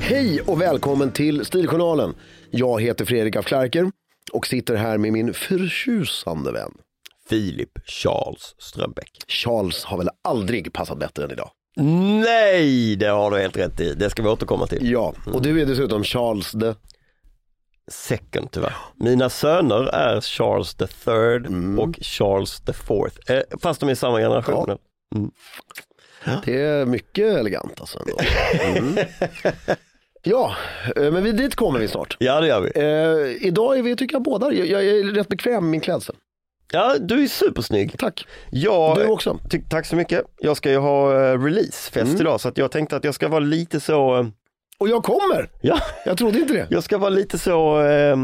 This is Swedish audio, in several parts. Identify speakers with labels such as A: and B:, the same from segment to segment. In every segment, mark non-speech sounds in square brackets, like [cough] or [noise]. A: Hej och välkommen till Stiljournalen. Jag heter Fredrik af Klarker och sitter här med min förtjusande vän.
B: Filip Charles Strömbäck.
A: Charles har väl aldrig passat bättre än idag.
B: Nej, det har du helt rätt i. Det ska vi återkomma till.
A: Ja, och du är dessutom Charles the...
B: Second tyvärr. Mina söner är Charles the third och Charles the fourth. Eh, fast de är i samma generation.
A: Mm. Ja. Det är mycket elegant alltså. Ändå. Mm.
B: [laughs]
A: Ja, eh, men vi, dit kommer vi snart.
B: Ja det gör vi.
A: Eh, idag är vi, tycker jag, båda. Jag, jag är rätt bekväm med min klädsel.
B: Ja, du är supersnygg.
A: Tack.
B: Jag,
A: Du också. Mm.
B: Ty- tack så mycket. Jag ska ju ha eh, releasefest idag så att jag tänkte att jag ska vara lite så, eh,
A: Och jag kommer!
B: ja, [laughs]
A: Jag trodde inte det.
B: jag ska vara lite så, eh,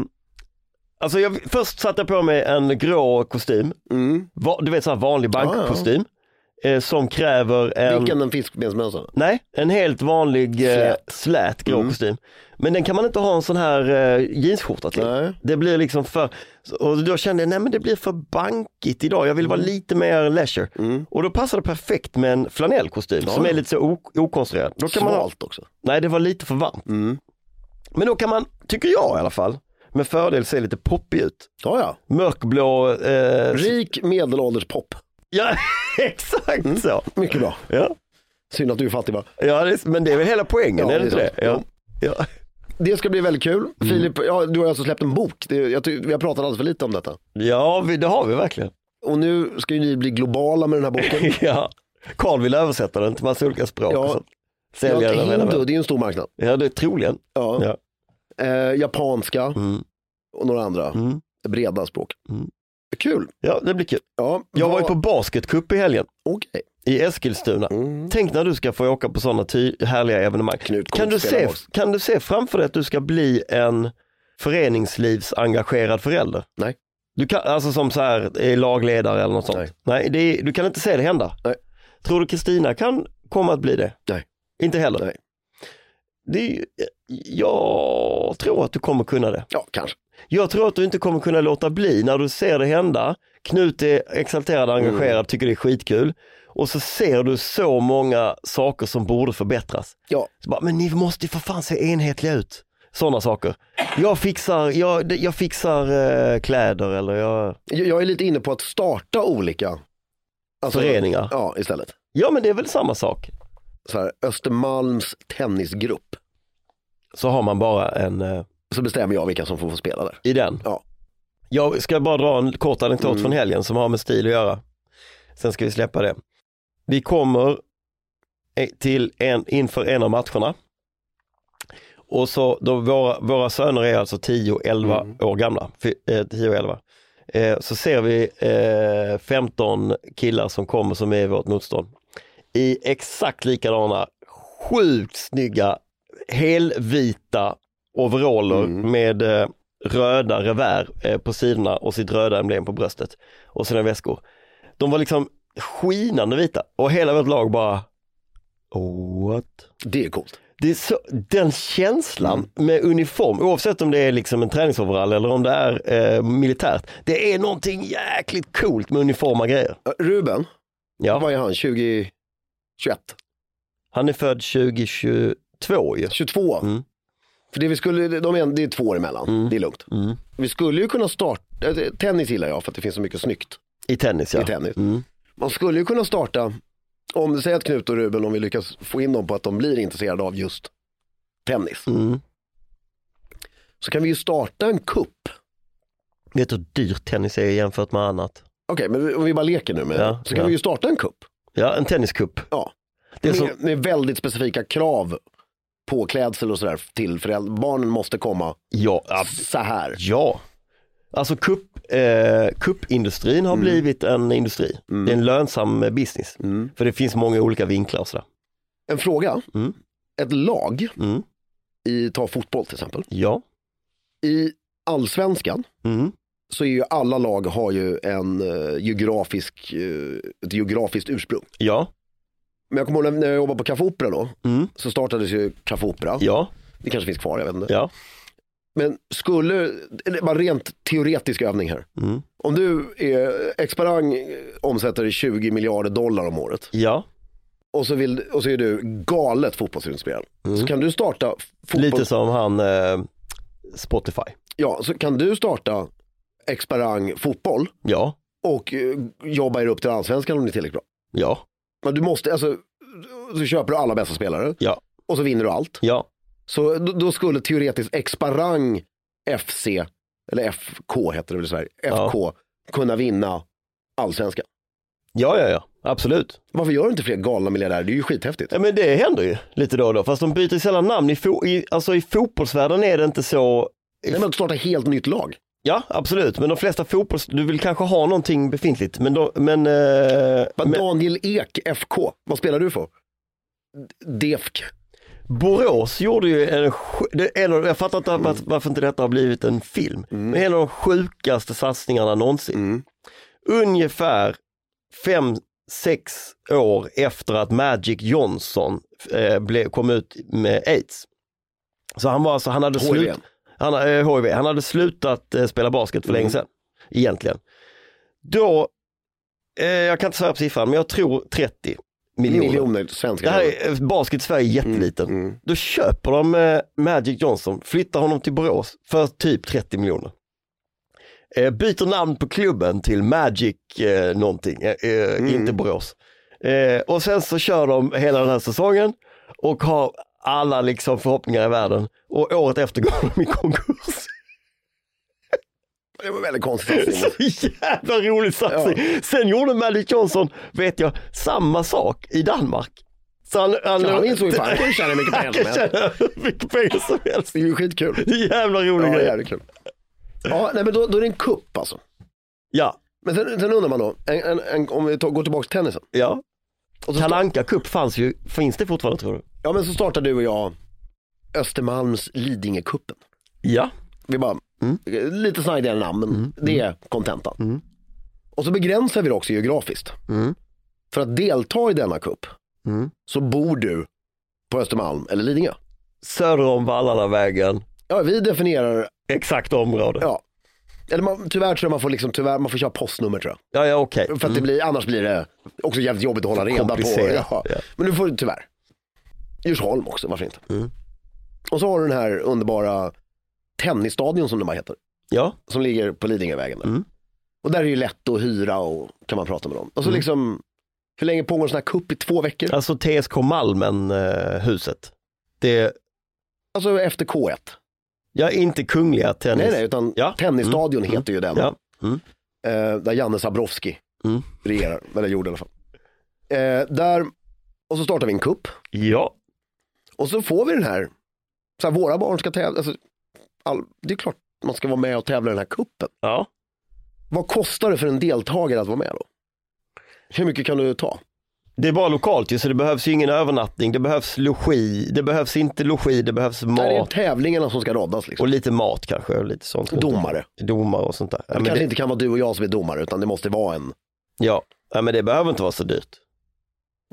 B: alltså jag, först satte jag på mig en grå kostym,
A: Mm.
B: Va, du vet sån här vanlig
A: Ja, ja.
B: bankkostym, eh, som kräver en
A: Vilken en fiskbensmössa?
B: Nej, en helt vanlig eh,
A: Slät.
B: slät grå
A: Mm.
B: kostym. Men den kan man inte ha en sån här eh, jeansskjorta till.
A: Nej.
B: Det blir liksom för, och då kände jag nej men det blir för bankigt idag, jag vill
A: Mm.
B: vara lite mer leisure. Och då passar det perfekt med en flanellkostym som är lite så ok- okonstruerad. Då kan man ha,
A: Smalt Mm. också.
B: nej det var lite för varmt. Men då kan man, tycker jag i alla fall, med fördel se lite poppig ut.
A: Ja, ja.
B: Mörkblå, eh,
A: Rik medelålders pop.
B: [laughs] ja exakt
A: Mm.
B: så.
A: Mycket bra.
B: Ja,
A: Synd att du är fattig bara.
B: ja det, men det är väl hela poängen,
A: Ja,
B: är det inte
A: det är
B: det? Ja.
A: sant.
B: Ja.
A: Det ska bli väldigt
B: Mm.
A: kul. Filip, ja, du har alltså släppt en bok. Det, jag ty- vi har pratat alldeles för lite om detta.
B: Ja, vi, det har vi verkligen.
A: [laughs] Och nu ska ju ni bli globala med den
B: [laughs]
A: här boken.
B: ja. Carl vill översätta den till massa olika språk.
A: Ja.
B: och sånt.
A: ja,
B: Sälja den över hela
A: Hindu,
B: världen.
A: det är ju en stor marknad.
B: Ja, det är troligen.
A: Ja.
B: Ja.
A: Eh, japanska
B: Mm.
A: och några andra
B: Mm.
A: breda språk.
B: Mm.
A: Kul.
B: Ja, det blir kul.
A: Ja,
B: Jag var
A: vad-
B: ju på basketcup i helgen
A: Okej.
B: i Eskilstuna. Tänk när du ska få åka på sådana ty- härliga evenemang.
A: Knut Kort
B: Kan du,
A: spelar
B: se,
A: bas.
B: kan du se framför dig att du ska bli en föreningslivsengagerad förälder?
A: Nej.
B: Du kan, alltså som så här, är lagledare eller något sånt. Nej,
A: Nej.
B: det är, du kan inte se det hända.
A: Nej.
B: Tror du Kristina kan komma att bli det?
A: Nej.
B: Inte heller?
A: Nej.
B: Det är, ju- eh, jag tror att du kommer kunna det.
A: Ja, kanske.
B: Jag tror att du inte kommer kunna låta bli när du ser det hända. Knut är exalterad, engagerad, tycker det är skitkul. Och så ser du så många saker som borde förbättras.
A: Ja.
B: Så bara, men ni måste ju för fan se enhetliga ut. Sådana saker. Jag fixar, jag, jag fixar eh, kläder eller jag...
A: Jag, jag är lite inne på att starta olika. Alltså-
B: Föreningar.
A: Ja, istället.
B: Ja men det är väl samma sak.
A: så här, Östermalms tennisgrupp.
B: Så har man bara en, eh,
A: Så bestämmer jag vilka som får, får spela där.
B: i den.
A: Ja.
B: Jag ska bara dra en kort anekdot
A: Mm.
B: från helgen som har med stil att göra. Sen ska vi släppa det. Vi kommer eh, till en, inför en av matcherna. Och så då våra, våra söner är alltså 10 och 11
A: Mm.
B: år gamla. Fy- eh, 10 och 11. Eh, så ser vi eh, 15 killar som kommer som är vårt motstånd. I exakt likadana, sjukt snygga, helvita overaller med eh, röda revär eh, på sidorna och sitt röda emblem på bröstet och sina väskor. De var liksom skinande vita och hela vårt lag bara What?
A: Det är coolt.
B: Det är så, den känslan med uniform, oavsett om det är liksom en träningsoverall eller om det är eh, militärt, det är någonting jäkligt coolt med uniforma grejer.
A: Ö, Eh, Ruben,
B: Ja,
A: vad är han? 20, 21,
B: han är född 2022 ju.
A: 22?
B: Mm.
A: För det, vi skulle, de är, det är två år emellan, det är lugnt.
B: Mm.
A: Vi skulle ju kunna starta, eh, tennis gillar jag för att det finns så mycket snyggt
B: I tennis ja.
A: i tennis.
B: Mm.
A: Man skulle ju kunna starta, om säg att Knut och Ruben, om vi lyckas få in dem på att de blir intresserade av just tennis.
B: Mm.
A: Så kan vi ju starta en kupp.
B: Vet du hur dyrt tennis är jämfört med annat?
A: Okej, men vi- om vi bara leker nu med
B: Ja,
A: Så kan
B: ja.
A: vi ju starta en kupp.
B: Ja, en tenniscup.
A: Ja.
B: Det är
A: Med,
B: som,
A: med väldigt specifika krav på klädsel och sådär till föräldrar. Barnen måste komma
B: ja, ja,
A: så här.
B: Ja, alltså kupp, eh, kuppindustrin
A: Mm.
B: har blivit en industri. Det är en lönsam eh, business. För det finns många olika vinklar och sådär.
A: En fråga.
B: Mm.
A: Ett lag,
B: Mm.
A: i, ta fotboll till exempel.
B: Ja,
A: I allsvenskan
B: mm.
A: så är ju alla lag har ju en eh, geografisk, eh, ett geografiskt ursprung.
B: ja,
A: Men jag kommer ihåg när- när jag jobbade på Café Opera då,
B: mm.
A: så startades ju Café Opera.
B: ja,
A: Det kanske finns kvar, jag vet inte.
B: ja.
A: Men skulle, eller bara rent teoretisk övning här.
B: Mm.
A: Om du är, Exparang omsätter 20 miljarder dollar om året
B: ja.
A: och så, vill, och så är du galet fotbollsintresserad. Så kan du starta fotboll,
B: Mm. Lite som han eh, Spotify.
A: ja, så kan du starta Exparang fotboll
B: Ja,
A: och eh, jobba er upp till allsvenskan om ni är tillräckligt bra.
B: ja,
A: Men du måste, alltså, så köper du alla bästa spelare
B: ja,
A: och så vinner du allt.
B: ja,
A: Så då, då skulle teoretiskt Exparang FC, eller FK heter det väl i Sverige, FK kunna vinna allsvenskan.
B: ja, ja, ja. absolut.
A: Varför gör inte fler galna miljardärer? Det är ju skithäftigt.
B: Ja, men det händer ju lite då och då, fast de byter sällan namn. I, fo- i, alltså, I fotbollsvärlden är det inte så
A: Nej, men att starta helt nytt lag.
B: Ja, absolut, men de flesta fotbolls... Du vill kanske ha någonting befintligt, men... De, men, eh, men
A: Daniel Ek, FK, vad spelar du för? D- DEFK.
B: Borås gjorde ju en... sj- det- En av, jag fattar inte var- varför inte detta har blivit en film, men en av de sjukaste satsningarna någonsin. Ungefär fem, sex år efter att Magic Johnson eh, blev, kom ut med aids. Så han var alltså, han hade
A: HIV.
B: slut... Han, eh, HIV. Han hade slutat eh, spela basket för länge sedan, egentligen. Då, eh, jag kan inte säga på siffran, men jag tror 30 miljoner.
A: Miljoner
B: Det
A: svenskar.
B: här är, eh, basket i Sverige är jätteliten. Då köper de eh, Magic Johnson, flyttar honom till Borås för typ 30 miljoner. Eh, byter namn på klubben till Magic eh, någonting, eh, eh, inte Borås. Eh, och sen så kör de hela den här säsongen och har alla liksom förhoppningar i världen och året efter [laughs] går de i konkurs.
A: Det var väldigt konstigt.
B: [laughs] Så jävla rolig satsning. Sen gjorde Magic Johnson, vet jag, samma sak i Danmark. Så han, han,
A: Han insåg ju fan, han kan ju tjäna hur mycket pengar
B: han kan
A: som helst.
B: tjäna hur mycket pengar som helst.
A: Det är ju skitkul.
B: Det är Jävla rolig
A: Ja, det är
B: grej.
A: jävligt kul. Ja, nej, men då, då är det en kupp alltså.
B: Ja,
A: Men sen, sen undrar man då, en, en, en, om vi tar- går tillbaka till tennisen.
B: ja. Kalle Anka Cup fanns ju, finns det fortfarande tror du?
A: Ja, men så startar du och jag Östermalms Lidingökuppen.
B: Ja.
A: Vi bara, lite snajdigare namn, men det är kontentan. Och så begränsar vi det också geografiskt. För att delta i denna kupp så bor du på Östermalm eller Lidingö.
B: Söder om Vallarnavägen,
A: Ja, vi definierar,
B: exakt område. Ja,
A: ja. Eller man, tyvärr tror jag man får, liksom, tyvärr, man får köra postnummer tror jag.
B: ja, ja okej.
A: För att det blir, annars blir det också jävligt jobbigt att hålla reda på.
B: Mm. Komplicerat,
A: Ja.
B: ja.
A: Men nu får du tyvärr. Djursholm också, varför inte?
B: Mm.
A: Och så har du den här underbara tennisstadion som den bara heter.
B: Ja,
A: Som ligger på Lidingövägen där.
B: Mm.
A: Och där är det ju lätt att hyra och kan man prata med dem. Och så liksom Hur länge pågår en sån här kupp i två veckor?
B: Alltså TSK Malmen-huset. eh, det
A: Alltså efter K1.
B: ja, inte Kungliga Tennis.
A: Nej, nej, utan
B: Ja.
A: Tennisstadion
B: Mm.
A: heter ju den.
B: Ja.
A: Eh, där Janne Sabrowski
B: Mm.
A: regerar, eller gjorde i alla fall. Eh, där, och så startar vi en kupp.
B: ja,
A: Och så får vi den här, så här våra barn ska tävla, alltså, all, det är klart man ska vara med och tävla i den här kuppen.
B: ja.
A: Vad kostar det för en deltagare att vara med då? Hur mycket kan du ta?
B: Det är bara lokalt ju, så det behövs ju ingen övernattning, det behövs logi, det behövs inte logi, det behövs
A: Nej, det är
B: mat
A: tävlingarna som ska roddas. Liksom.
B: och lite mat kanske. Och lite sånt.
A: Domare.
B: Domare och sånt där. Ja,
A: det
B: men
A: kanske
B: det,
A: inte kan vara du och jag som är domare, utan det måste vara en...
B: ja. ja, men det behöver inte vara så dyrt.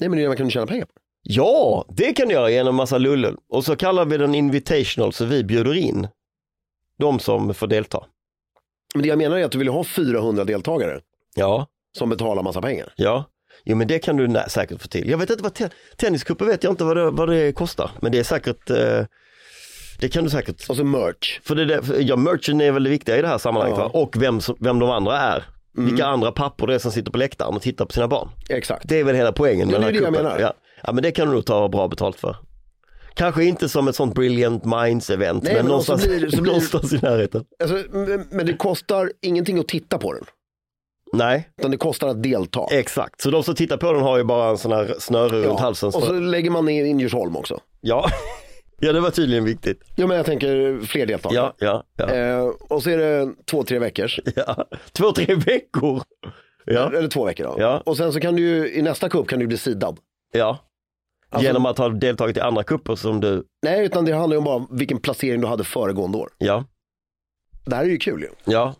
A: Nej, men det är det man kan tjäna pengar på.
B: Ja, det kan du göra genom massa lullul. Och så kallar vi den invitational, så vi bjuder in de som får delta.
A: Men det jag menar är att du vill ha 400 deltagare
B: Ja,
A: som betalar massa pengar.
B: ja. Jo men det kan du nä- säkert få till. Jag vet inte vad te- tenniscuper vet jag inte vad det, vad det kostar. Men det är säkert, eh, det kan du säkert.
A: Och så Alltså merch.
B: För det där, för- ja, merchen är väl det viktiga i det här sammanhanget
A: Ja. Mm.
B: va? och vem, som, vem de andra är. Vilka andra pappor det är som sitter på läktaren och tittar på sina barn.
A: Exakt.
B: Det är väl hela poängen med
A: Ja, det är
B: den här
A: det jag
B: kuppen.
A: menar.
B: Ja. ja men det kan du nog ta bra betalt för. Kanske inte som ett sånt brilliant minds event
A: Nej,
B: men,
A: men och så
B: någonstans,
A: blir- så blir-
B: någonstans i närheten.
A: Alltså, men- men det kostar ingenting att titta på den,
B: Nej,
A: utan det kostar att delta.
B: exakt. Så de som tittar på den har ju bara en sån här snöre runt halsen.
A: Och så
B: Så...
A: lägger man in Djursholm också.
B: Ja. [laughs] ja, det var tydligen viktigt.
A: Ja, men jag tänker fler deltagare.
B: Ja, ja, ja.
A: Eh, och så är det två, tre veckors.
B: ja. Två, tre veckor. Ja,
A: Eller två veckor då.
B: Ja.
A: Och sen så kan du ju, i nästa cup kan du bli sidad.
B: ja.
A: Alltså-
B: Genom att ha deltagit i andra kupper som du,
A: Nej, utan det handlar ju om bara vilken placering du hade föregående år.
B: ja.
A: Det här är ju kul ju.
B: Ja.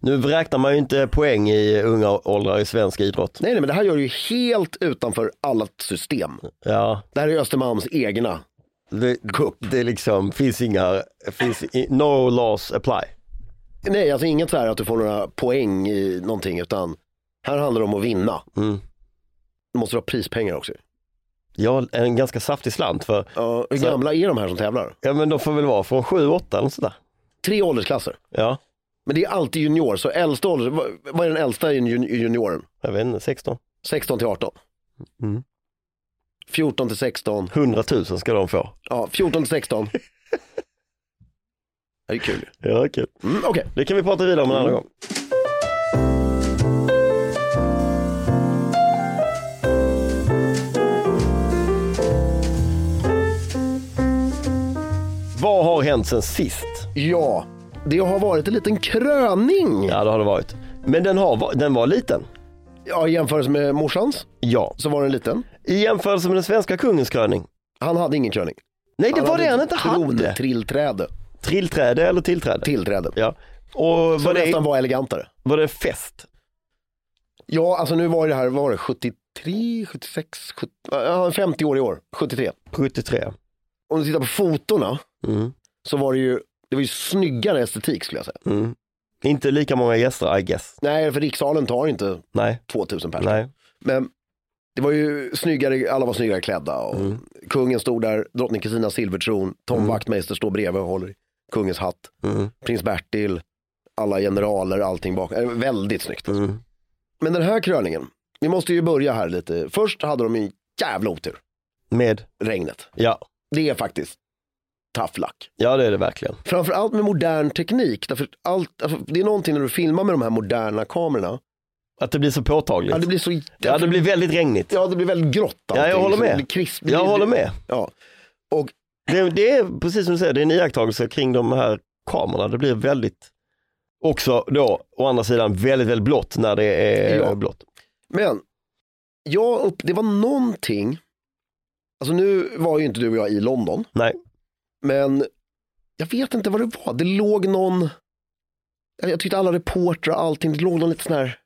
B: Nu räknar man ju inte poäng i unga åldrar i svensk idrott.
A: Nej, nej, men det här gör du ju helt utanför alla system.
B: Ja,
A: Det här är Östermalms egna.
B: det, det är liksom, finns inga, finns i, no laws apply.
A: Nej, alltså inget så här att du får några poäng i någonting, utan här handlar det om att vinna.
B: Mm.
A: Du måste ha prispengar också.
B: Ja, en ganska saftig slant för,
A: Ja, hur
B: Så-
A: gamla är de här som tävlar?
B: ja men de får väl vara från 7-8 eller sådär.
A: Tre åldersklasser.
B: Ja,
A: Men det är alltid junior, så äldsta ålder, vad, vad är den äldsta i jun- i junioren?
B: jag vet inte, 16.
A: 16 till 18.
B: Mm.
A: 14 till 16.
B: 100 000 ska de få.
A: Ja, 14
B: [laughs]
A: till 16. det är kul.
B: Ja, kul.
A: Mm, Okej,
B: Det kan vi prata vidare om en annan gång. Vad har hänt sen sist?
A: ja. Det har varit en liten kröning. Ja.
B: Ja, det har det varit. Men den, har, va- den var liten.
A: I jämförelse med morsans
B: Ja.
A: så var den liten.
B: I jämförelse med den svenska kungens kröning.
A: Han hade ingen kröning.
B: Nej, det var det han inte
A: hade.
B: hade.
A: Trillträde.
B: Trillträde eller tillträde?
A: Tillträde.
B: Ja. Och
A: Som
B: var
A: nästan
B: det,
A: var elegantare.
B: var det fest?
A: Ja, alltså nu var det här, vad var det 73, 76, 70, ja, 50 år i år, 73.
B: 73.
A: Om du tittar på fotorna
B: Mm.
A: så var det ju, det var ju snyggare estetik skulle jag säga.
B: Mm. Inte lika många gäster, I guess.
A: Nej, för rikssalen tar inte
B: Nej,
A: 2000 personer.
B: nej.
A: Men det var ju snyggare, alla var snyggare klädda och
B: Mm.
A: kungen stod där, drottning Kristina silvertron, Tom Wachtmeister står bredvid och håller i kungens hatt,
B: Mm.
A: prins Bertil, alla generaler, allting bakom. Eh, Väldigt snyggt.
B: Mm.
A: Men den här kröningen, vi måste ju börja här lite. Först hade de en jävla otur,
B: Med,
A: regnet.
B: ja,
A: Det är faktiskt tough luck.
B: ja det är det verkligen.
A: Framförallt med modern teknik. Därför allt, alltså, det är någonting när du filmar med de här moderna kamerorna.
B: Att det blir så påtagligt.
A: Ja, det blir så...
B: Ja, det blir väldigt regnigt.
A: ja, det blir väldigt grått.
B: Ja, jag
A: allting.
B: håller
A: Så Det
B: med.
A: blir krisp, det
B: Jag
A: blir-
B: håller med.
A: Ja. Och
B: Det, det är precis som du säger, det är en iakttagelse kring de här kamerorna. Det blir väldigt, också då, å andra sidan väldigt, väldigt blått när det är
A: Ja.
B: blått.
A: Men, jag upp, det var någonting, alltså nu var ju inte du och jag i London,
B: Nej,
A: men jag vet inte vad det var. Det låg någon, jag jag tyckte alla reportrar och allting, det låg någon lite sån här,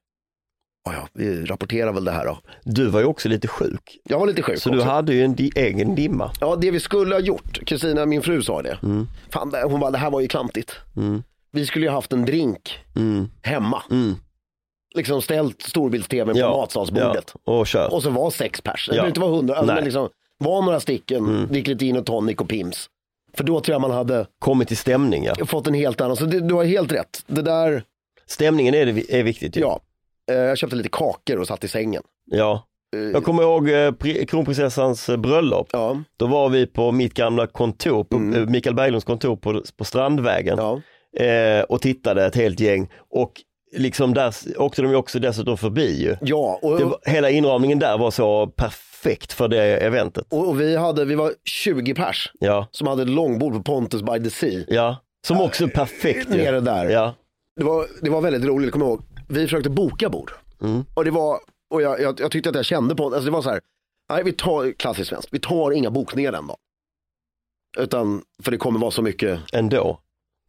A: ja ja, vi rapporterar väl det här då.
B: du var ju också lite sjuk.
A: Jag var lite sjuk
B: Så
A: också.
B: du hade ju en di- egen dimma.
A: Ja, det vi skulle ha gjort, Kristina, min fru sa det.
B: Mm.
A: Fan, det- hon bara, det här var ju klantigt.
B: Mm.
A: Vi skulle ju haft en drink
B: Mm.
A: hemma,
B: Mm.
A: liksom ställt storbilds-tvn på matsalsbordet.
B: Ja. Och kört.
A: Och så var sex pers, det
B: Ja.
A: behöver inte vara hundra, alltså,
B: Nej. Mm.
A: men liksom, var några stycken, drick lite gin och tonic och pims. För då tror jag man hade
B: Kommit i stämning ja.
A: fått en helt annan, så det, du har helt rätt. Det där,
B: Typ. Stämningen är, det, vi- är viktigt ju.
A: ja. Eh, Jag köpte lite kakor och satt i sängen.
B: ja.
A: Eh,
B: Jag kommer ihåg eh, pri- kronprinsessans eh, bröllop.
A: Ja,
B: Då var vi på mitt gamla kontor, på
A: Mm.
B: eh, Mikael Berglunds kontor på, på Strandvägen
A: ja.
B: eh, och tittade ett helt gäng. Och liksom där s- åkte de ju också dessutom förbi ju.
A: ja och,
B: Det var, hela inramningen där var så perfekt för det eventet.
A: och, och vi, hade, vi var 20 pers
B: Ja,
A: som hade ett långbord på Pontus by the Sea.
B: ja. Som också är perfekt ju.
A: Nere där.
B: Ja.
A: Det, var, det var väldigt roligt, kommer jag ihåg. Vi försökte boka bord.
B: Mm.
A: Och, det var, och jag, jag, jag tyckte att jag kände på alltså det var så här, nej vi tar, klassiskt svenskt, vi tar inga bokningar den dagen. Utan, för det kommer vara så mycket.
B: Ändå.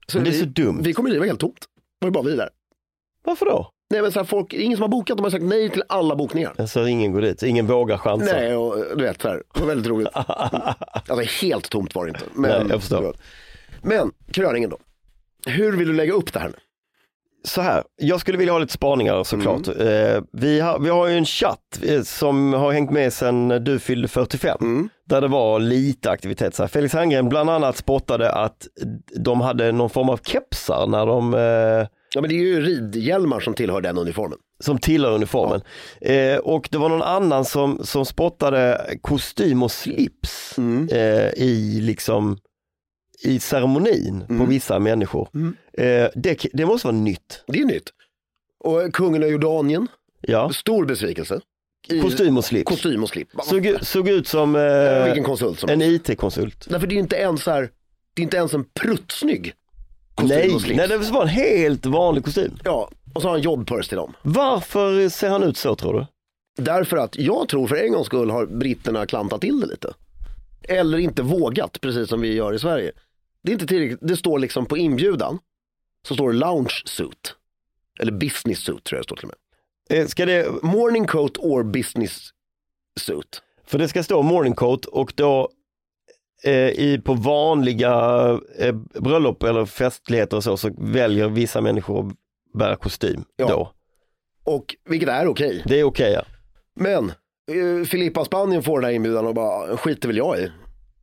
A: Så
B: Men det är
A: vi,
B: så dumt.
A: Vi kommer driva helt tomt. Det var ju bara vi där.
B: Varför då?
A: Nej men så här, folk, det är ingen som har bokat, de har sagt nej till alla bokningar.
B: Alltså ingen går dit, ingen vågar chansa.
A: Nej, och du vet så här, det var
B: [laughs]
A: väldigt roligt. Alltså helt tomt var det inte. Men,
B: Nej, jag förstår.
A: men kröningen då. Hur vill du lägga upp det här nu?
B: så här, jag skulle vilja ha lite spaningar såklart. Eh, vi, har, vi har ju en chatt eh, som har hängt med sedan du fyllde 45, där det var lite aktivitet. Så här. Felix Herngren bland annat spottade att de hade någon form av kepsar när de eh,
A: Ja men det är ju ridhjälmar som tillhör den uniformen.
B: som tillhör uniformen. Eh, och det var någon annan som, som spottade kostym och slips eh, i liksom i ceremonin på vissa människor. Eh, det, det måste vara nytt.
A: Det är nytt. Och kungen av Jordanien,
B: Ja.
A: stor besvikelse. I
B: Kostym och slips.
A: kostym och slip.
B: Såg, ut- såg ut som eh,
A: Vilken konsult som
B: en
A: helst.
B: IT-konsult.
A: Därför det är ju inte ens så här, det är inte ens en pruttsnygg kostym
B: Nej,
A: och slips.
B: nej, det var en helt vanlig kostym.
A: Ja, och så har han jobbpurs till dem.
B: Varför ser han ut så tror du?
A: Därför att jag tror för en gångs skull har britterna klantat till det lite. Eller inte vågat, precis som vi gör i Sverige. Det är inte tillräckligt, det står liksom på inbjudan, så står det lounge suit. Eller business suit tror jag det står till och med.
B: Eh, Ska det,
A: Morning coat or business suit.
B: för det ska stå morning coat och då eh, i, på vanliga eh, bröllop eller festligheter och så, så väljer vissa människor att bära kostym.
A: Ja.
B: Då.
A: Och vilket är okej.
B: Det är okej. ja.
A: Men eh, Filippa Spanien får den här inbjudan och bara, skiter väl jag i.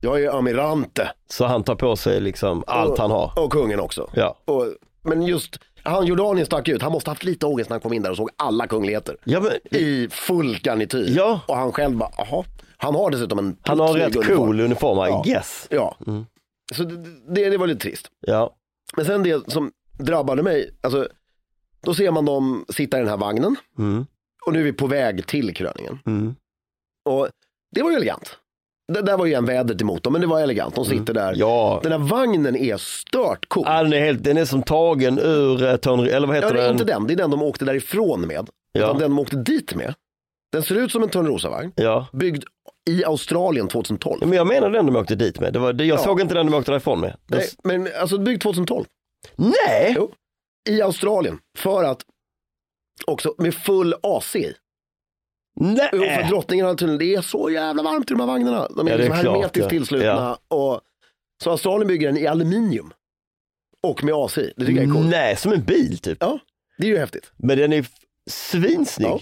A: Jag är ju amirante
B: Så han tar på sig liksom allt han har.
A: och kungen också.
B: Ja.
A: Och, men just, han Jordanien stack ut, han måste haft lite ångest när han kom in där och såg alla kungligheter.
B: Ja, men,
A: i full garnityr.
B: Ja.
A: Och han själv bara, jaha. Han har dessutom en
B: han har en
A: snygg
B: rätt
A: uniform.
B: cool Mm. uniform, I
A: Ja.
B: guess.
A: Ja. Så det, det, det var lite trist.
B: Ja.
A: Men sen det som drabbade mig, alltså, då ser man dem sitta i den här vagnen
B: Mm.
A: och nu är vi på väg till kröningen.
B: Mm.
A: Och det var ju elegant. Det där var ju en vädret emot dem, men det var elegant. De sitter där.
B: Mm. Ja.
A: Den här vagnen är stört cool.
B: Ah, den, är helt, den är som tagen ur eh, Tony, eller vad
A: Ja,
B: heter
A: det är
B: den?
A: inte den, det är den de åkte därifrån med.
B: Ja.
A: Utan den de åkte dit med. Den ser ut som en Törnrosavagn,
B: Ja.
A: byggd i Australien 2012.
B: Ja, Men jag menar den de åkte dit med. Det var, det, jag
A: Ja.
B: såg inte den de åkte därifrån med. Den,
A: Nej,
B: s-
A: men alltså byggd 2012
B: nej!
A: Jo. i Australien för att också med full AC i.
B: nej.
A: Jo, för drottningen har tydligen, det är så jävla varmt i de här vagnarna. De
B: Eh.
A: är,
B: Ja, det är
A: liksom
B: klart,
A: hermetiskt
B: ja.
A: tillslutna. Och, så Australien bygger den i aluminium och med AC i. Det tycker jag är coolt.
B: nej, som en bil typ.
A: Ja, det är ju häftigt.
B: Men den är f- svinsnygg.
A: Ja.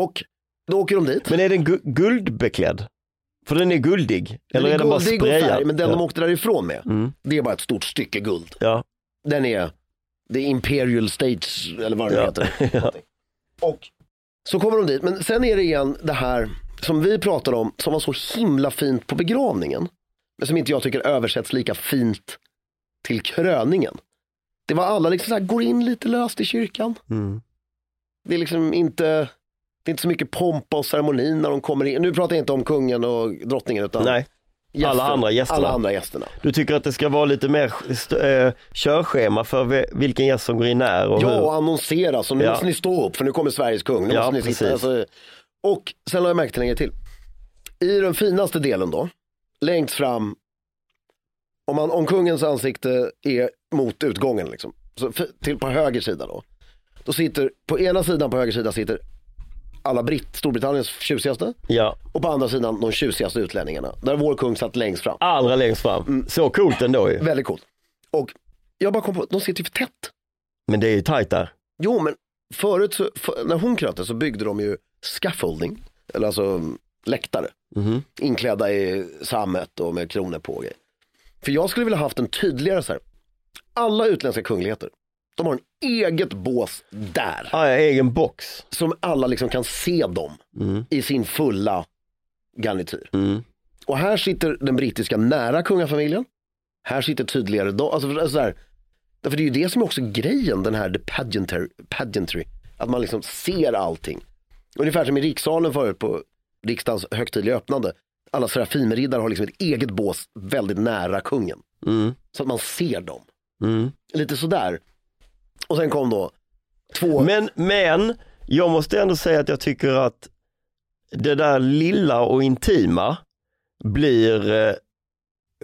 A: Och då åker de dit.
B: Men är den gu- guldbeklädd? För den är guldig. Eller är,
A: är
B: den bara
A: guldig och färg,
B: sprayad?
A: Men den
B: ja.
A: de åkte därifrån med,
B: Mm.
A: det är bara ett stort stycke guld.
B: ja.
A: Den är, det är Imperial States eller vad det
B: Ja. [laughs]
A: heter.
B: ja.
A: Och så kommer de dit, men sen är det igen det här som vi pratade om som var så himla fint på begravningen. Men som inte jag tycker översätts lika fint till kröningen. Det var alla liksom så här, går in lite löst i kyrkan.
B: Mm.
A: Det är liksom inte, det är inte så mycket pompa och ceremoni när de kommer in. Nu pratar jag inte om kungen och drottningen utan
B: Nej, alla andra gästerna.
A: Alla andra gästerna.
B: du tycker att det ska vara lite mer st- eh, körschema för ve- vilken gäst som går in när och
A: Ja, och
B: hur.
A: annonsera. Så nu
B: Ja.
A: måste ni stå upp för nu kommer Sveriges kung. Nu
B: Ja,
A: måste ni sitta.
B: precis.
A: Alltså, och sen har jag märkt en grej till. I den finaste delen då, längst fram, om, man, om kungens ansikte är mot utgången, liksom, så f- till på höger sida då, då sitter, på ena sidan på höger sida sitter alla britt, Storbritanniens tjusigaste
B: Ja.
A: och på andra sidan de tjusigaste utlänningarna. Där vår kung satt längst fram.
B: Allra längst fram.
A: Mm.
B: Så coolt ändå ju.
A: Väldigt coolt. Och jag bara kom på, de sitter ju för tätt.
B: Men det är ju tajt där.
A: Jo, men förut så, för, när hon krökte så byggde de ju scaffolding, eller alltså mm, läktare,
B: Mhm.
A: inklädda i sammet och med kronor på och grejer. För jag skulle vilja haft en tydligare så här, alla utländska kungligheter De har en eget bås där.
B: Ah, ja, egen box.
A: Som alla liksom kan se dem i sin fulla garnityr.
B: Mm.
A: Och här sitter den brittiska nära kungafamiljen. Här sitter tydligare de. Alltså, alltså så här, därför det är ju det som är också grejen, den här the pageantry. pageantry att man liksom ser allting. Ungefär som i rikssalen förut på riksdagens högtidliga öppnande. Alla serafimriddare har liksom ett eget bås väldigt nära kungen.
B: Mm.
A: Så att man ser dem.
B: Mm.
A: Lite sådär. Och sen kom då två...
B: Men, men jag måste ändå säga att jag tycker att det där lilla och intima blir eh,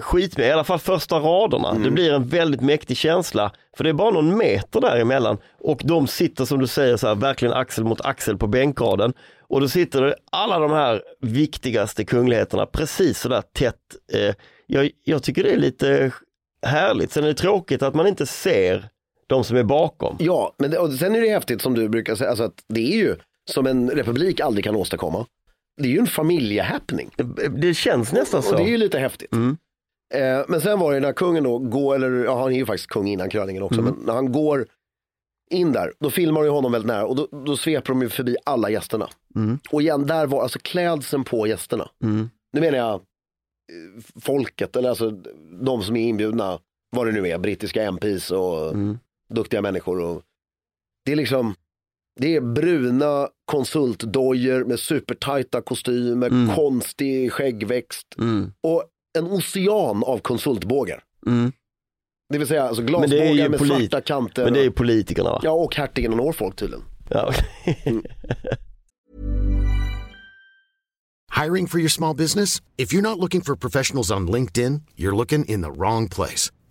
B: skit med, i alla fall första raderna. Det blir en väldigt mäktig känsla för det är bara någon meter däremellan och de sitter som du säger så här, verkligen axel mot axel på bänkraden och då sitter det alla de här viktigaste kungligheterna precis sådär tätt. Eh, jag, jag tycker det är lite härligt, sen är det tråkigt att man inte ser de som är bakom.
A: Ja, men det, och sen är det häftigt som du brukar säga, alltså att det är ju som en republik aldrig kan åstadkomma. Det är ju en familjehappening.
B: Det känns nästan så.
A: Och det är ju lite häftigt. Eh, men sen var det när kungen då går, eller ja, han är ju faktiskt kung innan kröningen också, men när han går in där, då filmar de ju honom väldigt nära och då, då sveper de ju förbi alla gästerna. Och igen, där var alltså klädseln på gästerna. Nu menar jag eh, folket, eller alltså de som är inbjudna, vad det nu är, brittiska MPs och duktiga människor. Och, det är liksom, det är bruna konsultdojor med supertajta kostymer, konstig skäggväxt
B: Mm.
A: och en ocean av konsultbågar.
B: Mm.
A: Det vill säga alltså
B: Men det är ju
A: glasbågar med
B: polit-
A: svarta kanter.
B: Men det är ju
A: och-
B: politikerna va?
A: Ja, och hertigen av Norfolk tydligen.
B: Ja. Mm.
C: Hiring for your small business? If you're not looking for professionals on LinkedIn, you're looking in the wrong place.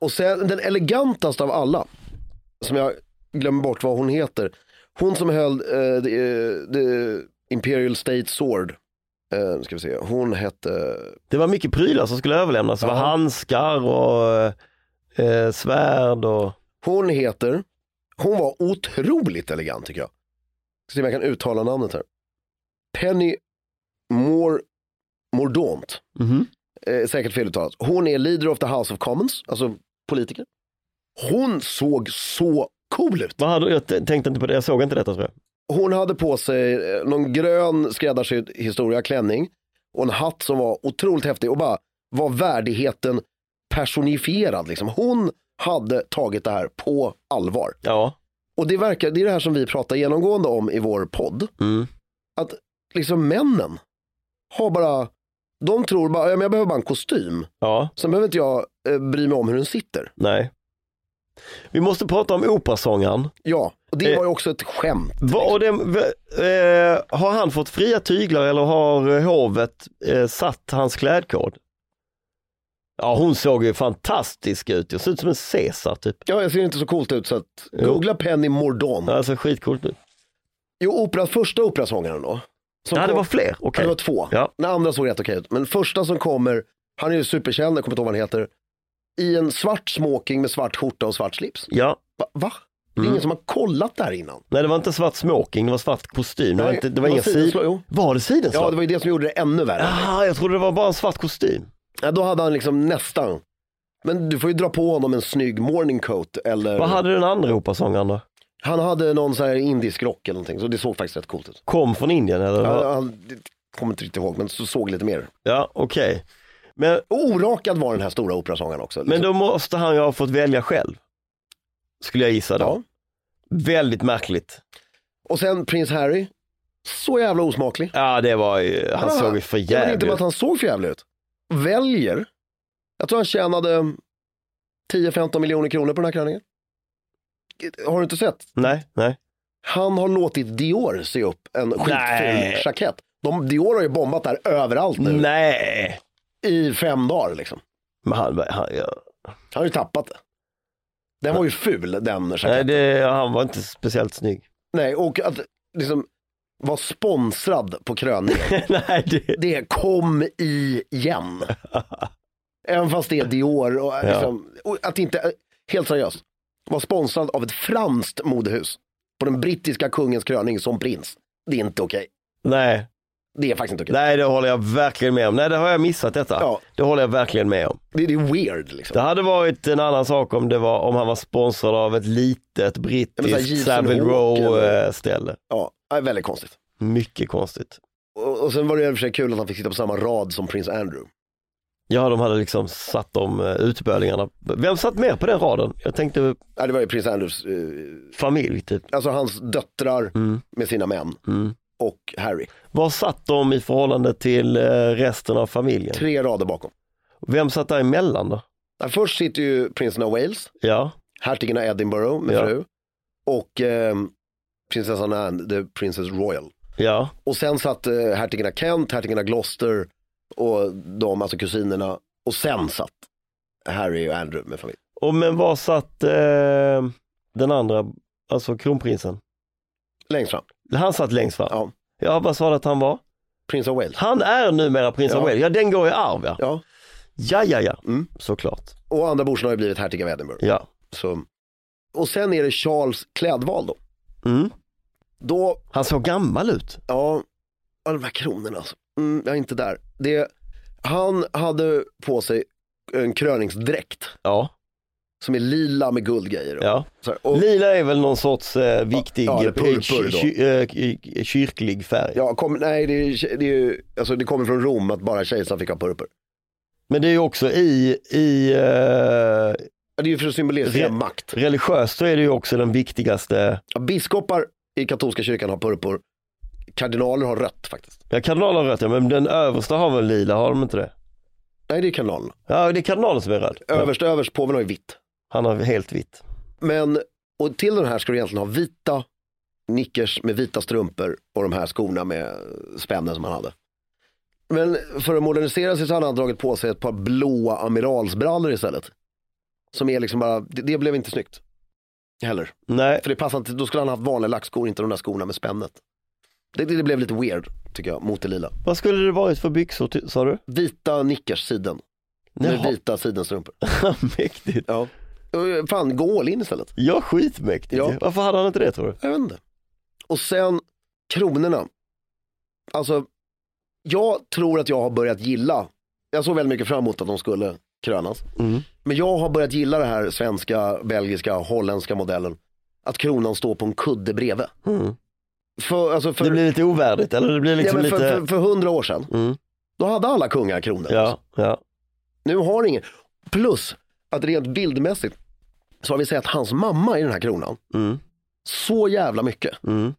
A: Och sen den elegantaste av alla, som jag glömmer bort vad hon heter. Hon som höll eh, the, eh, the Imperial State Sword. Eh, nu ska vi se, hon hette
B: [laughs] Det var mycket prylar som skulle överlämnas. Det var
A: Ja.
B: handskar och eh, svärd och
A: Hon heter, hon var otroligt elegant tycker jag. Ska se om jag kan uttala namnet här. Penny Mor Mordaunt.
B: Mhm.
A: Eh, säkert feluttalat. Hon är leader of the House of Commons, alltså politiker. Hon såg så cool ut.
B: vad hade, jag t- tänkte inte på det, jag såg inte detta tror jag.
A: Hon hade på sig eh, någon grön skräddarsydd historia klänning och en hatt som var otroligt häftig och bara var värdigheten personifierad. Liksom. Hon hade tagit det här på allvar.
B: Ja,
A: Och det, verkar, det är det här som vi pratar genomgående om i vår podd.
B: Mm.
A: Att liksom männen har bara, de tror bara, "Ja, men jag behöver bara en kostym.
B: ja,
A: Sen behöver inte jag eh, bry mig om hur den sitter.
B: nej. Vi måste prata om operasångaren.
A: Ja, och det
B: Eh.
A: var ju också ett skämt.
B: Va, och det, v- eh, har han fått fria tyglar eller har eh, hovet eh, satt hans klädkod? Ja, hon såg ju fantastisk ut. Jag såg ut som en Caesar typ.
A: Ja, jag ser inte så coolt ut så att
B: Jo.
A: googla Penny Mordaunt.
B: Alltså skitcoolt nu.
A: Jo, opera, första operasångaren då. Som
B: Ja, det
A: kom-
B: var fler.
A: Ja,
B: Okej.
A: det var två.
B: Ja.
A: Den andra såg rätt okej ut. Men första som kommer, han är ju superkänd, jag kommer inte ihåg vad han heter. I en svart smoking med svart skjorta och svart slips.
B: Ja,
A: Va? Va? Det är
B: Mm.
A: ingen som har kollat det här innan.
B: nej det var inte svart smoking, det var svart kostym. Det var,
A: Nej,
B: inte, det
A: det
B: var,
A: var
B: inga
A: sidenslag,
B: sidor.
A: jo.
B: Var det sidenslag?
A: Ja, det var ju det som gjorde det ännu värre.
B: Aha, jag trodde det var bara en svart kostym.
A: Ja, då hade han liksom nästan. Men du får ju dra på honom en snygg morning coat eller
B: Vad hade den andra operasångaren då?
A: han hade någon så här indisk rock eller någonting så det såg faktiskt rätt coolt ut.
B: Kom från Indien eller?
A: Ja.
B: Ja,
A: Jag, jag kommer inte riktigt ihåg men så såg lite mer.
B: ja okej. Men,
A: Och Orakad var den här stora operasångaren också.
B: men
A: liksom.
B: då måste han ju ha fått välja själv. Skulle jag gissa då.
A: Ja.
B: Väldigt märkligt.
A: Och sen prins Harry, så jävla osmaklig.
B: Ja, det var ju, han
A: Ja,
B: såg ju för
A: Jag vet
B: jävligt
A: inte bara att
B: ut.
A: han såg för jävligt ut. Väljer, jag tror han tjänade 10-15 miljoner kronor på den här klänningen. Har du inte sett?
B: Nej, nej.
A: Han har låtit Dior se upp en skitful
B: Nej.
A: jackett. De, Dior har ju bombat där överallt nu
B: Nej.
A: i fem dagar. Liksom.
B: Men han, han, ja.
A: Han har ju tappat det. Den var ju ful den jacketten.
B: nej det, han var inte speciellt snygg. [laughs]
A: Nej, och att liksom vara sponsrad
B: [laughs]
A: på kröningen,
B: nej, det,
A: det kom igen. Även fast det är Dior och, liksom, och att inte, helt seriöst, vara sponsrad av ett franskt modehus på den brittiska kungens kröning som prins. Det är inte okej.
B: nej,
A: Det är faktiskt inte okej.
B: nej, det håller jag verkligen med om. Nej, det har jag missat detta.
A: Ja.
B: Det håller jag verkligen med om.
A: Det, det är weird liksom.
B: Det hade varit en annan sak om, det var, om han var sponsrad av ett litet
A: men så här Jeeves
B: brittiskt
A: and
B: Savile
A: Hawke eller-
B: Row-ställe.
A: Ja, det är väldigt konstigt.
B: Mycket konstigt.
A: Och, och sen var det i och för sig kul att han fick sitta på samma rad som prins Andrew.
B: Ja, de hade liksom satt de eh, utbölingarna. Vem satt med på den raden? Jag tänkte
A: Ja, det var ju prins Andrews, eh,
B: familj typ. Mm.
A: alltså hans döttrar med sina män och Harry.
B: Var satt de i förhållande till eh, resten av familjen?
A: Tre rader bakom.
B: Vem satt däremellan då?
A: Där först sitter ju prinsen av Wales,
B: Ja,
A: hertigen av Edinburgh med
B: Ja.
A: fru och ehm, prinsessan Anne, the princess royal.
B: ja,
A: Och sen satt eh, hertigen av Kent, hertigen av Gloucester och de, alltså kusinerna. Och sen satt Harry och Andrew med familj.
B: och men var satt eh, den andra, alltså kronprinsen?
A: Längst fram,
B: Han satt längst fram.
A: ja.
B: Ja, vad sa du att han var?
A: Prins av Wales.
B: Han är numera prins av
A: Ja.
B: Wales, ja den går i arv ja.
A: Ja.
B: Ja, ja, ja,
A: Mm.
B: såklart.
A: Och andra brorsan har ju blivit hertig av Edinburgh.
B: Ja.
A: Så. Och sen är det Charles klädval då.
B: Mm.
A: Då,
B: Han såg gammal ut.
A: ja, ja, de här kronorna alltså. Mm, jag är inte där. Det, han hade på sig en kröningsdräkt
B: Ja,
A: som är lila med guldgrejer.
B: ja.
A: Så här, och,
B: Lila är väl någon sorts eh, viktig
A: Ja, eller
B: eh,
A: purpur då.
B: ky- eh, ky- kyrklig färg.
A: ja, kom, nej, det, är- det, är ju- alltså, det kommer från Rom att bara kejsaren fick ha purpur.
B: Men det är ju också i, i eh,
A: Ja, Det är ju för att symbolisera
B: Re-
A: makt.
B: religiöst så är det ju också den viktigaste,
A: Ja, biskopar i katolska kyrkan har purpur. Kardinaler har rött faktiskt.
B: ja kardinalen har rött ja, men den översta har väl lila, har de inte det?
A: Nej, det är kardinalerna.
B: Ja det är kardinalen som är röd. Ja,
A: Överst, överst, påven har ju vitt.
B: han har helt vitt.
A: Men, och till den här ska du egentligen ha vita nickers med vita strumpor och de här skorna med spännen som han hade. Men för att modernisera sig så hade han dragit på sig ett par blåa amiralsbrallor istället. Som är liksom bara, det, det blev inte snyggt. Heller.
B: Nej,
A: För det passade inte, då skulle han ha haft vanliga lackskor, inte de där skorna med spännet. Det, det, det blev lite weird, tycker jag, mot det lila.
B: vad skulle det varit för byxor ty- sa
A: [laughs]
B: du?
A: Vita nickers, siden. Med
B: Jaha,
A: vita sidenstrumpor.
B: mäktigt.
A: Ja. Eh, Fan, gå all in istället.
B: Ja skitmäktigt.
A: Ja.
B: Ja. Varför hade han inte det tror du?
A: Jag vet inte. Och sen kronorna. Alltså, jag tror att jag har börjat gilla, jag såg väldigt mycket fram emot att de skulle krönas.
B: Mm.
A: Men jag har börjat gilla det här svenska, belgiska, holländska modellen. Att kronan står på en kudde bredvid.
B: Mm.
A: För, alltså för,
B: Det blir lite ovärdigt eller det blir
A: ja,
B: liksom
A: men
B: lite,
A: för, för, för hundra år sedan,
B: Mm.
A: då hade alla kungar kronor.
B: ja, ja.
A: Nu har ingen. Plus att rent bildmässigt så har vi sett hans mamma i den här kronan
B: Mm.
A: så jävla mycket.
B: Mm.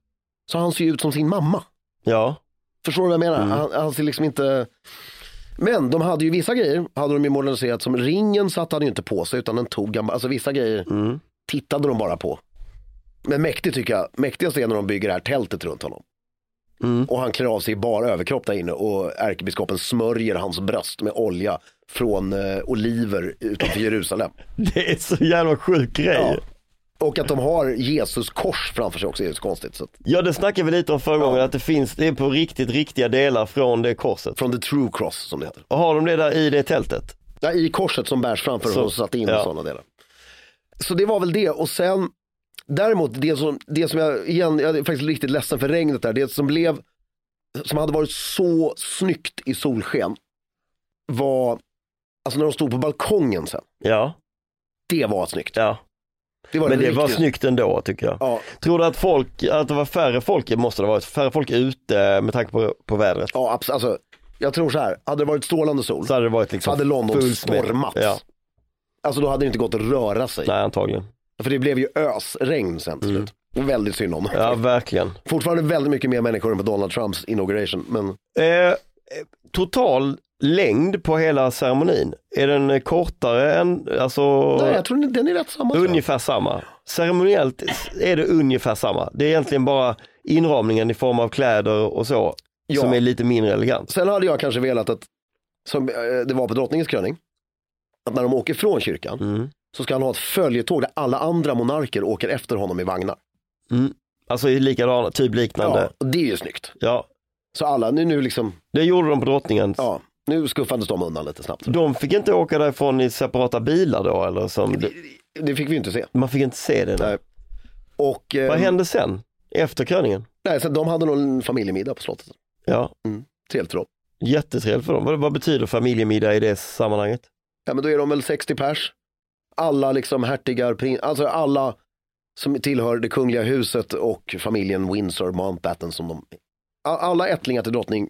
A: Så han ser ju ut som sin mamma.
B: ja.
A: Förstår du vad jag menar?
B: Mm.
A: Han, han ser liksom inte... Men de hade ju vissa grejer, hade de ju moderniserat, som ringen satte han ju inte på sig utan den tog han, alltså vissa grejer
B: Mm.
A: tittade de bara på. Men mäktigt tycker jag, mäktigast är när de bygger det här tältet runt honom.
B: Mm.
A: Och han klär av sig i bara överkropp där inne och ärkebiskopen smörjer hans bröst med olja från eh, oliver
B: [laughs]
A: utanför Jerusalem.
B: Det är så jävla sjuk grej.
A: Ja.
B: Ja.
A: Och att de har Jesus kors framför sig också är ju så konstigt. Så att,
B: det snackade vi lite om förra gången, att det finns, det är på riktigt riktiga delar från det korset.
A: från the true cross som det heter.
B: Och har de det där i det tältet?
A: Ja, I korset som bärs framför
B: Så,
A: honom så satt in
B: ja.
A: sådana delar. Så det var väl det och sen däremot det som, det som jag, igen, jag är faktiskt riktigt ledsen för regnet där, det som blev, som hade varit så snyggt i solsken var, alltså när de stod på balkongen sen,
B: Ja,
A: det var snyggt.
B: ja.
A: Det var
B: men det var
A: riktigt-
B: snyggt ändå tycker jag.
A: Ja,
B: Tror du att, folk, att det var färre folk, det måste det ha varit, färre folk ute med tanke på, på vädret?
A: ja abs- alltså, jag tror så här, hade det varit strålande sol,
B: Så hade det varit liksom
A: hade London
B: fullsmäll.
A: stormat.
B: Ja,
A: alltså då hade det inte gått att röra sig.
B: nej antagligen.
A: För det blev ju ösregn sen till slut. Och väldigt synd om.
B: Ja, verkligen.
A: Fortfarande väldigt mycket mer människor än på Donald Trumps inauguration. Men
B: Eh, eh, total längd på hela ceremonin, är den eh, kortare än, alltså
A: nej, jag tror den är rätt samma. tror jag.
B: ungefär samma? Ceremoniellt är det ungefär samma. Det är egentligen bara inramningen i form av kläder och så
A: Ja.
B: som är lite mindre elegant.
A: Sen hade jag kanske velat att, som eh, det var på drottningens kröning, att när de åker från kyrkan
B: Mm.
A: så ska han ha ett följetåg där alla andra monarker åker efter honom i vagnar.
B: Alltså i likadana, typ liknande.
A: Ja, och det är ju snyggt.
B: Ja.
A: Så alla, nu, nu liksom,
B: Det gjorde de på drottningen.
A: ja, nu skuffades de undan lite snabbt.
B: De fick inte åka därifrån i separata bilar då eller som,
A: Det fick vi inte se.
B: man fick inte se det.
A: Nej. Och, eh,
B: Vad hände sen? Efter kröningen?
A: Nej, så de hade någon familjemiddag på slottet.
B: Ja,
A: Trevligt för dem.
B: jättetrevligt för dem. Vad, vad betyder familjemiddag i det sammanhanget?
A: Ja, men då är de väl 60 pers. Alla liksom hertigar, prin- alltså alla som tillhör det kungliga huset och familjen Windsor Mountbatten som de, A- alla ättlingar till drottning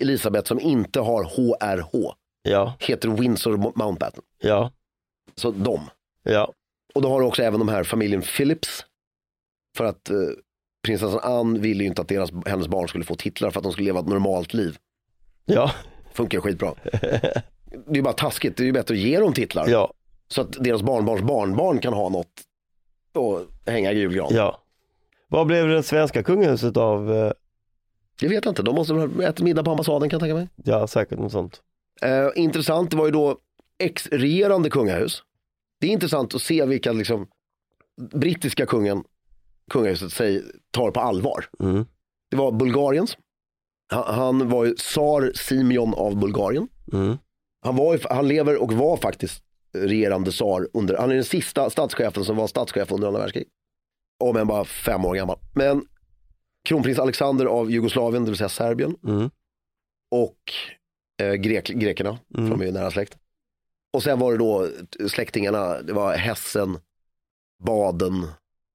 A: Elisabeth som inte har HRH
B: Ja,
A: heter Windsor Mo- Mountbatten.
B: ja,
A: Så de.
B: ja.
A: Och då har du också även de här familjen Phillips. För att eh, prinsessan Anne ville ju inte att deras, hennes barn skulle få titlar för att de skulle leva ett normalt liv.
B: Ja,
A: Funkar ju skitbra. Det är ju bara taskigt, det är ju bättre att ge dem titlar.
B: ja,
A: Så att deras barnbarns barnbarn kan ha något att hänga i julgran.
B: ja. Vad blev det svenska kungahuset av? eh,
A: Det vet jag inte, de måste ha ätit middag på ambassaden kan jag tänka mig.
B: Ja, säkert något sånt.
A: Eh, intressant, det var ju då ex-regerande kungahus. Det är intressant att se vilka liksom, brittiska kungen, kungahuset säger, tar på allvar.
B: Mm.
A: Det var Bulgariens. Han, han var ju tsar Simeon av Bulgarien.
B: Mm.
A: Han, var, ju- han lever och var faktiskt regerande tsar under, han är den sista statschefen som var statschef under andra världskriget. Om än bara fem år gammal. Men kronprins Alexander av Jugoslavien, det vill säga Serbien.
B: Mm.
A: Och eh, grek, grekerna, för de är ju nära släkt. Och sen var det då eh, släktingarna, det var Hessen, Baden,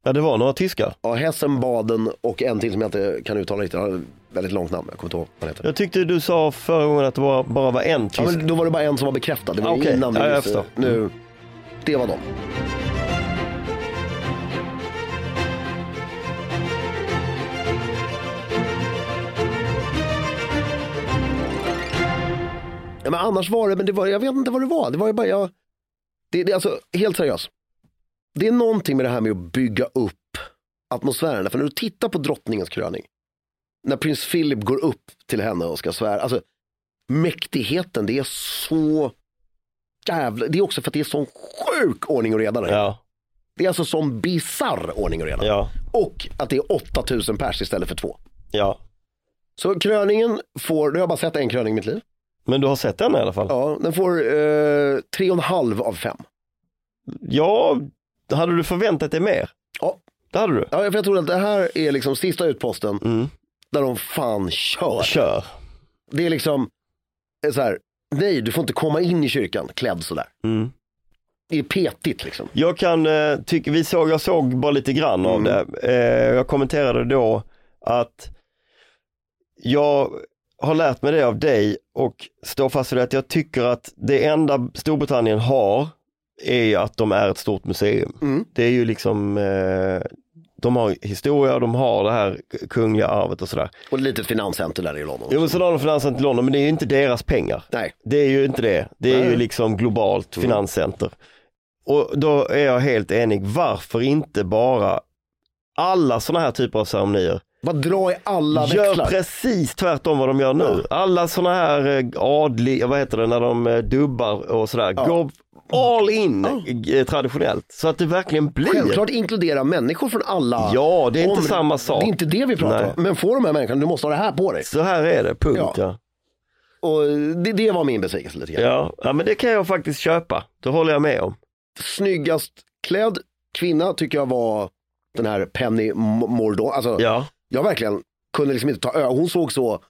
B: Ja, det var några tyskar.
A: ja Hessen, Baden och en till som jag inte kan uttala riktigt, han har ett väldigt långt namn, jag kommer inte ihåg vad han heter.
B: Jag tyckte du sa förra gången att det var, bara var en
A: Ja,
B: tysk.
A: men då var det bara en som var bekräftad. Det var ju
B: Ah, Okej,
A: innan vi
B: ja, jag
A: visste.
B: förstår. Mm.
A: Nu, det var dem. Ja, men annars var det, men det var, jag vet inte vad det var. Det var ju bara, jag, det, det, är alltså, helt seriöst. Det är någonting med det här med att bygga upp atmosfären. För när du tittar på drottningens kröning, när prins Philip går upp till henne och ska svära, alltså mäktigheten, det är så jävla, det är också för att det är sån sjuk ordning och reda. där.
B: Ja,
A: Det är alltså sån bizarr ordning och reda.
B: ja,
A: Och att det är 8000 pers istället för två.
B: ja.
A: Så kröningen får, nu har jag bara sett en kröning i mitt liv,
B: Men du har sett den i alla fall?
A: ja, den får eh, tre och en halv av fem.
B: Ja, hade du förväntat dig mer?
A: Ja.
B: Det hade du?
A: Ja, för jag tror att det här är liksom sista utposten
B: Mm.
A: där de fan kör.
B: Kör.
A: Det är liksom eh, så här, nej du får inte komma in i kyrkan klädd sådär.
B: Mm.
A: Det är petigt liksom.
B: Jag kan eh, tycka, vi såg, jag såg bara lite grann av det. Eh, jag kommenterade då att jag har lärt mig det av dig och står fast vid det att jag tycker att det enda Storbritannien har är att de är ett stort museum.
A: Mm.
B: Det är ju liksom, eh, de har historia, de har det här kungliga arvet och sådär.
A: Och ett litet finanscenter där i London.
B: Jo men sen har de finanscenter i London, men det är ju inte deras pengar.
A: Nej,
B: Det är ju inte det. Det är
A: Nej. Mm.
B: ju liksom globalt finanscenter. Och då är jag helt enig. Varför inte bara alla sådana här typer av ceremonier
A: bara dra i alla
B: gör
A: växlar.
B: precis tvärtom vad de gör nu. Alla sådana här eh, adliga, vad heter det, när de eh, dubbar och sådär. Går all in eh, traditionellt. Så att det verkligen blir.
A: Självklart inkludera människor från alla
B: Ja, det är inte
A: områden.
B: samma sak.
A: Det är inte det vi pratar
B: Nej.
A: om. Men får de här människorna, du måste ha det här på dig.
B: Så här är det, punkt
A: Ja.
B: ja.
A: Och det, det var min besvikelse lite grann.
B: Ja. ja, men det kan jag faktiskt köpa. Det håller jag med om.
A: Snyggast klädd kvinna tycker jag var den här Penny M- Mordaunt. Alltså,
B: Ja,
A: Jag verkligen kunde liksom inte ta ö. Hon såg så,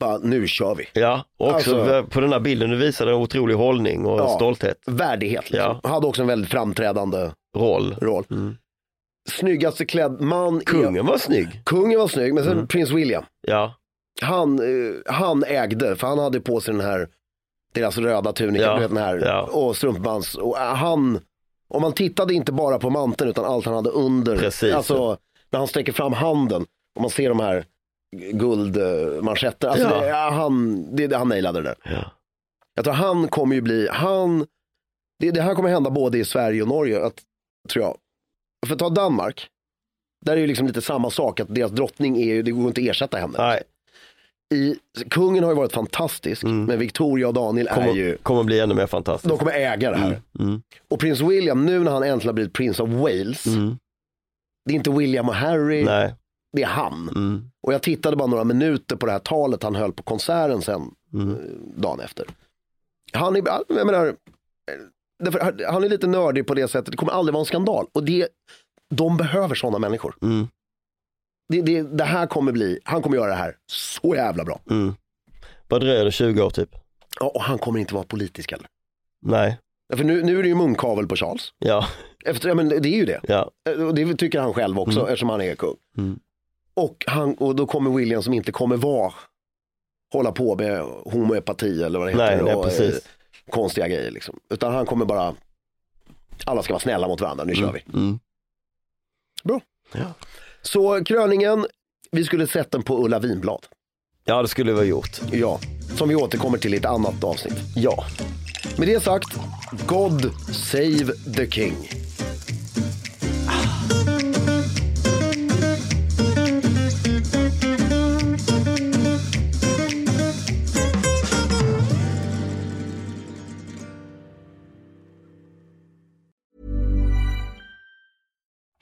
A: bara nu kör vi.
B: ja. också
A: Alltså-
B: på den här bilden du visade en otrolig hållning och
A: Ja.
B: stolthet.
A: Värdighet. Liksom. Hade också en väldigt framträdande
B: roll.
A: roll. Snyggaste klädd man. är-
B: Mm. Kungen var Mm. snygg.
A: Kungen var snygg, men sen prins William.
B: Ja,
A: han, eh, han ägde, för han hade på sig den här, deras röda tunika,
B: Ja,
A: du vet den här,
B: ja.
A: och strumpbands. Och eh, han, om man tittade inte bara på manteln utan allt han hade under,
B: Precis.
A: alltså när han sträcker fram handen och man ser de här guldmanschetter. Alltså
D: Ja.
A: det, ja, han, det, är det han nailade det där.
D: Ja.
A: Jag tror han kommer ju bli, han, det, det här kommer hända både i Sverige och Norge, att, tror jag. För att ta Danmark, där är ju liksom lite samma sak, att deras drottning är ju, det går inte att ersätta henne.
D: Nej,
A: I, kungen har ju varit fantastisk, men Victoria och Daniel är ju,
D: Mm. kommer, kommer bli ännu mer fantastiskt.
A: de kommer äga det här.
D: Mm.
A: Och prins William, nu när han äntligen har blivit prins av Wales,
D: Mm.
A: det är inte William och Harry,
D: Nej,
A: det är han.
D: mm.
A: Och jag tittade bara några minuter på det här talet han höll på konserten sen
D: Mm.
A: eh, dagen efter. Han är, jag menar, eh, därför, han är lite nördig på det sättet, det kommer aldrig vara en skandal. Och det, de behöver sådana människor.
D: Mm.
A: Det, det, det här kommer bli, han kommer göra det här så jävla bra.
D: Mm. Vad dröjer det, 20 år typ?
A: Ja, och han kommer inte vara politisk heller.
D: Nej,
A: För nu, nu är det ju munkavel på Charles.
D: ja,
A: Efter, ja, men det är ju det.
D: ja.
A: Eh, Och det tycker han själv också eftersom han är kung.
D: Mm.
A: Och, han, och då kommer William som inte kommer vara, hålla på med homoepati eller vad det heter.
D: Nej, nej
A: och, eh,
D: precis.
A: konstiga grejer liksom. Utan han kommer bara, alla ska vara snälla mot varandra, nu kör vi.
D: Mm.
A: Så kröningen, vi skulle sett den på Ulla Vinblad.
D: Ja, det skulle vi ha gjort.
A: Ja, som vi återkommer till i ett annat avsnitt.
D: Ja.
A: Med det sagt, God save the king.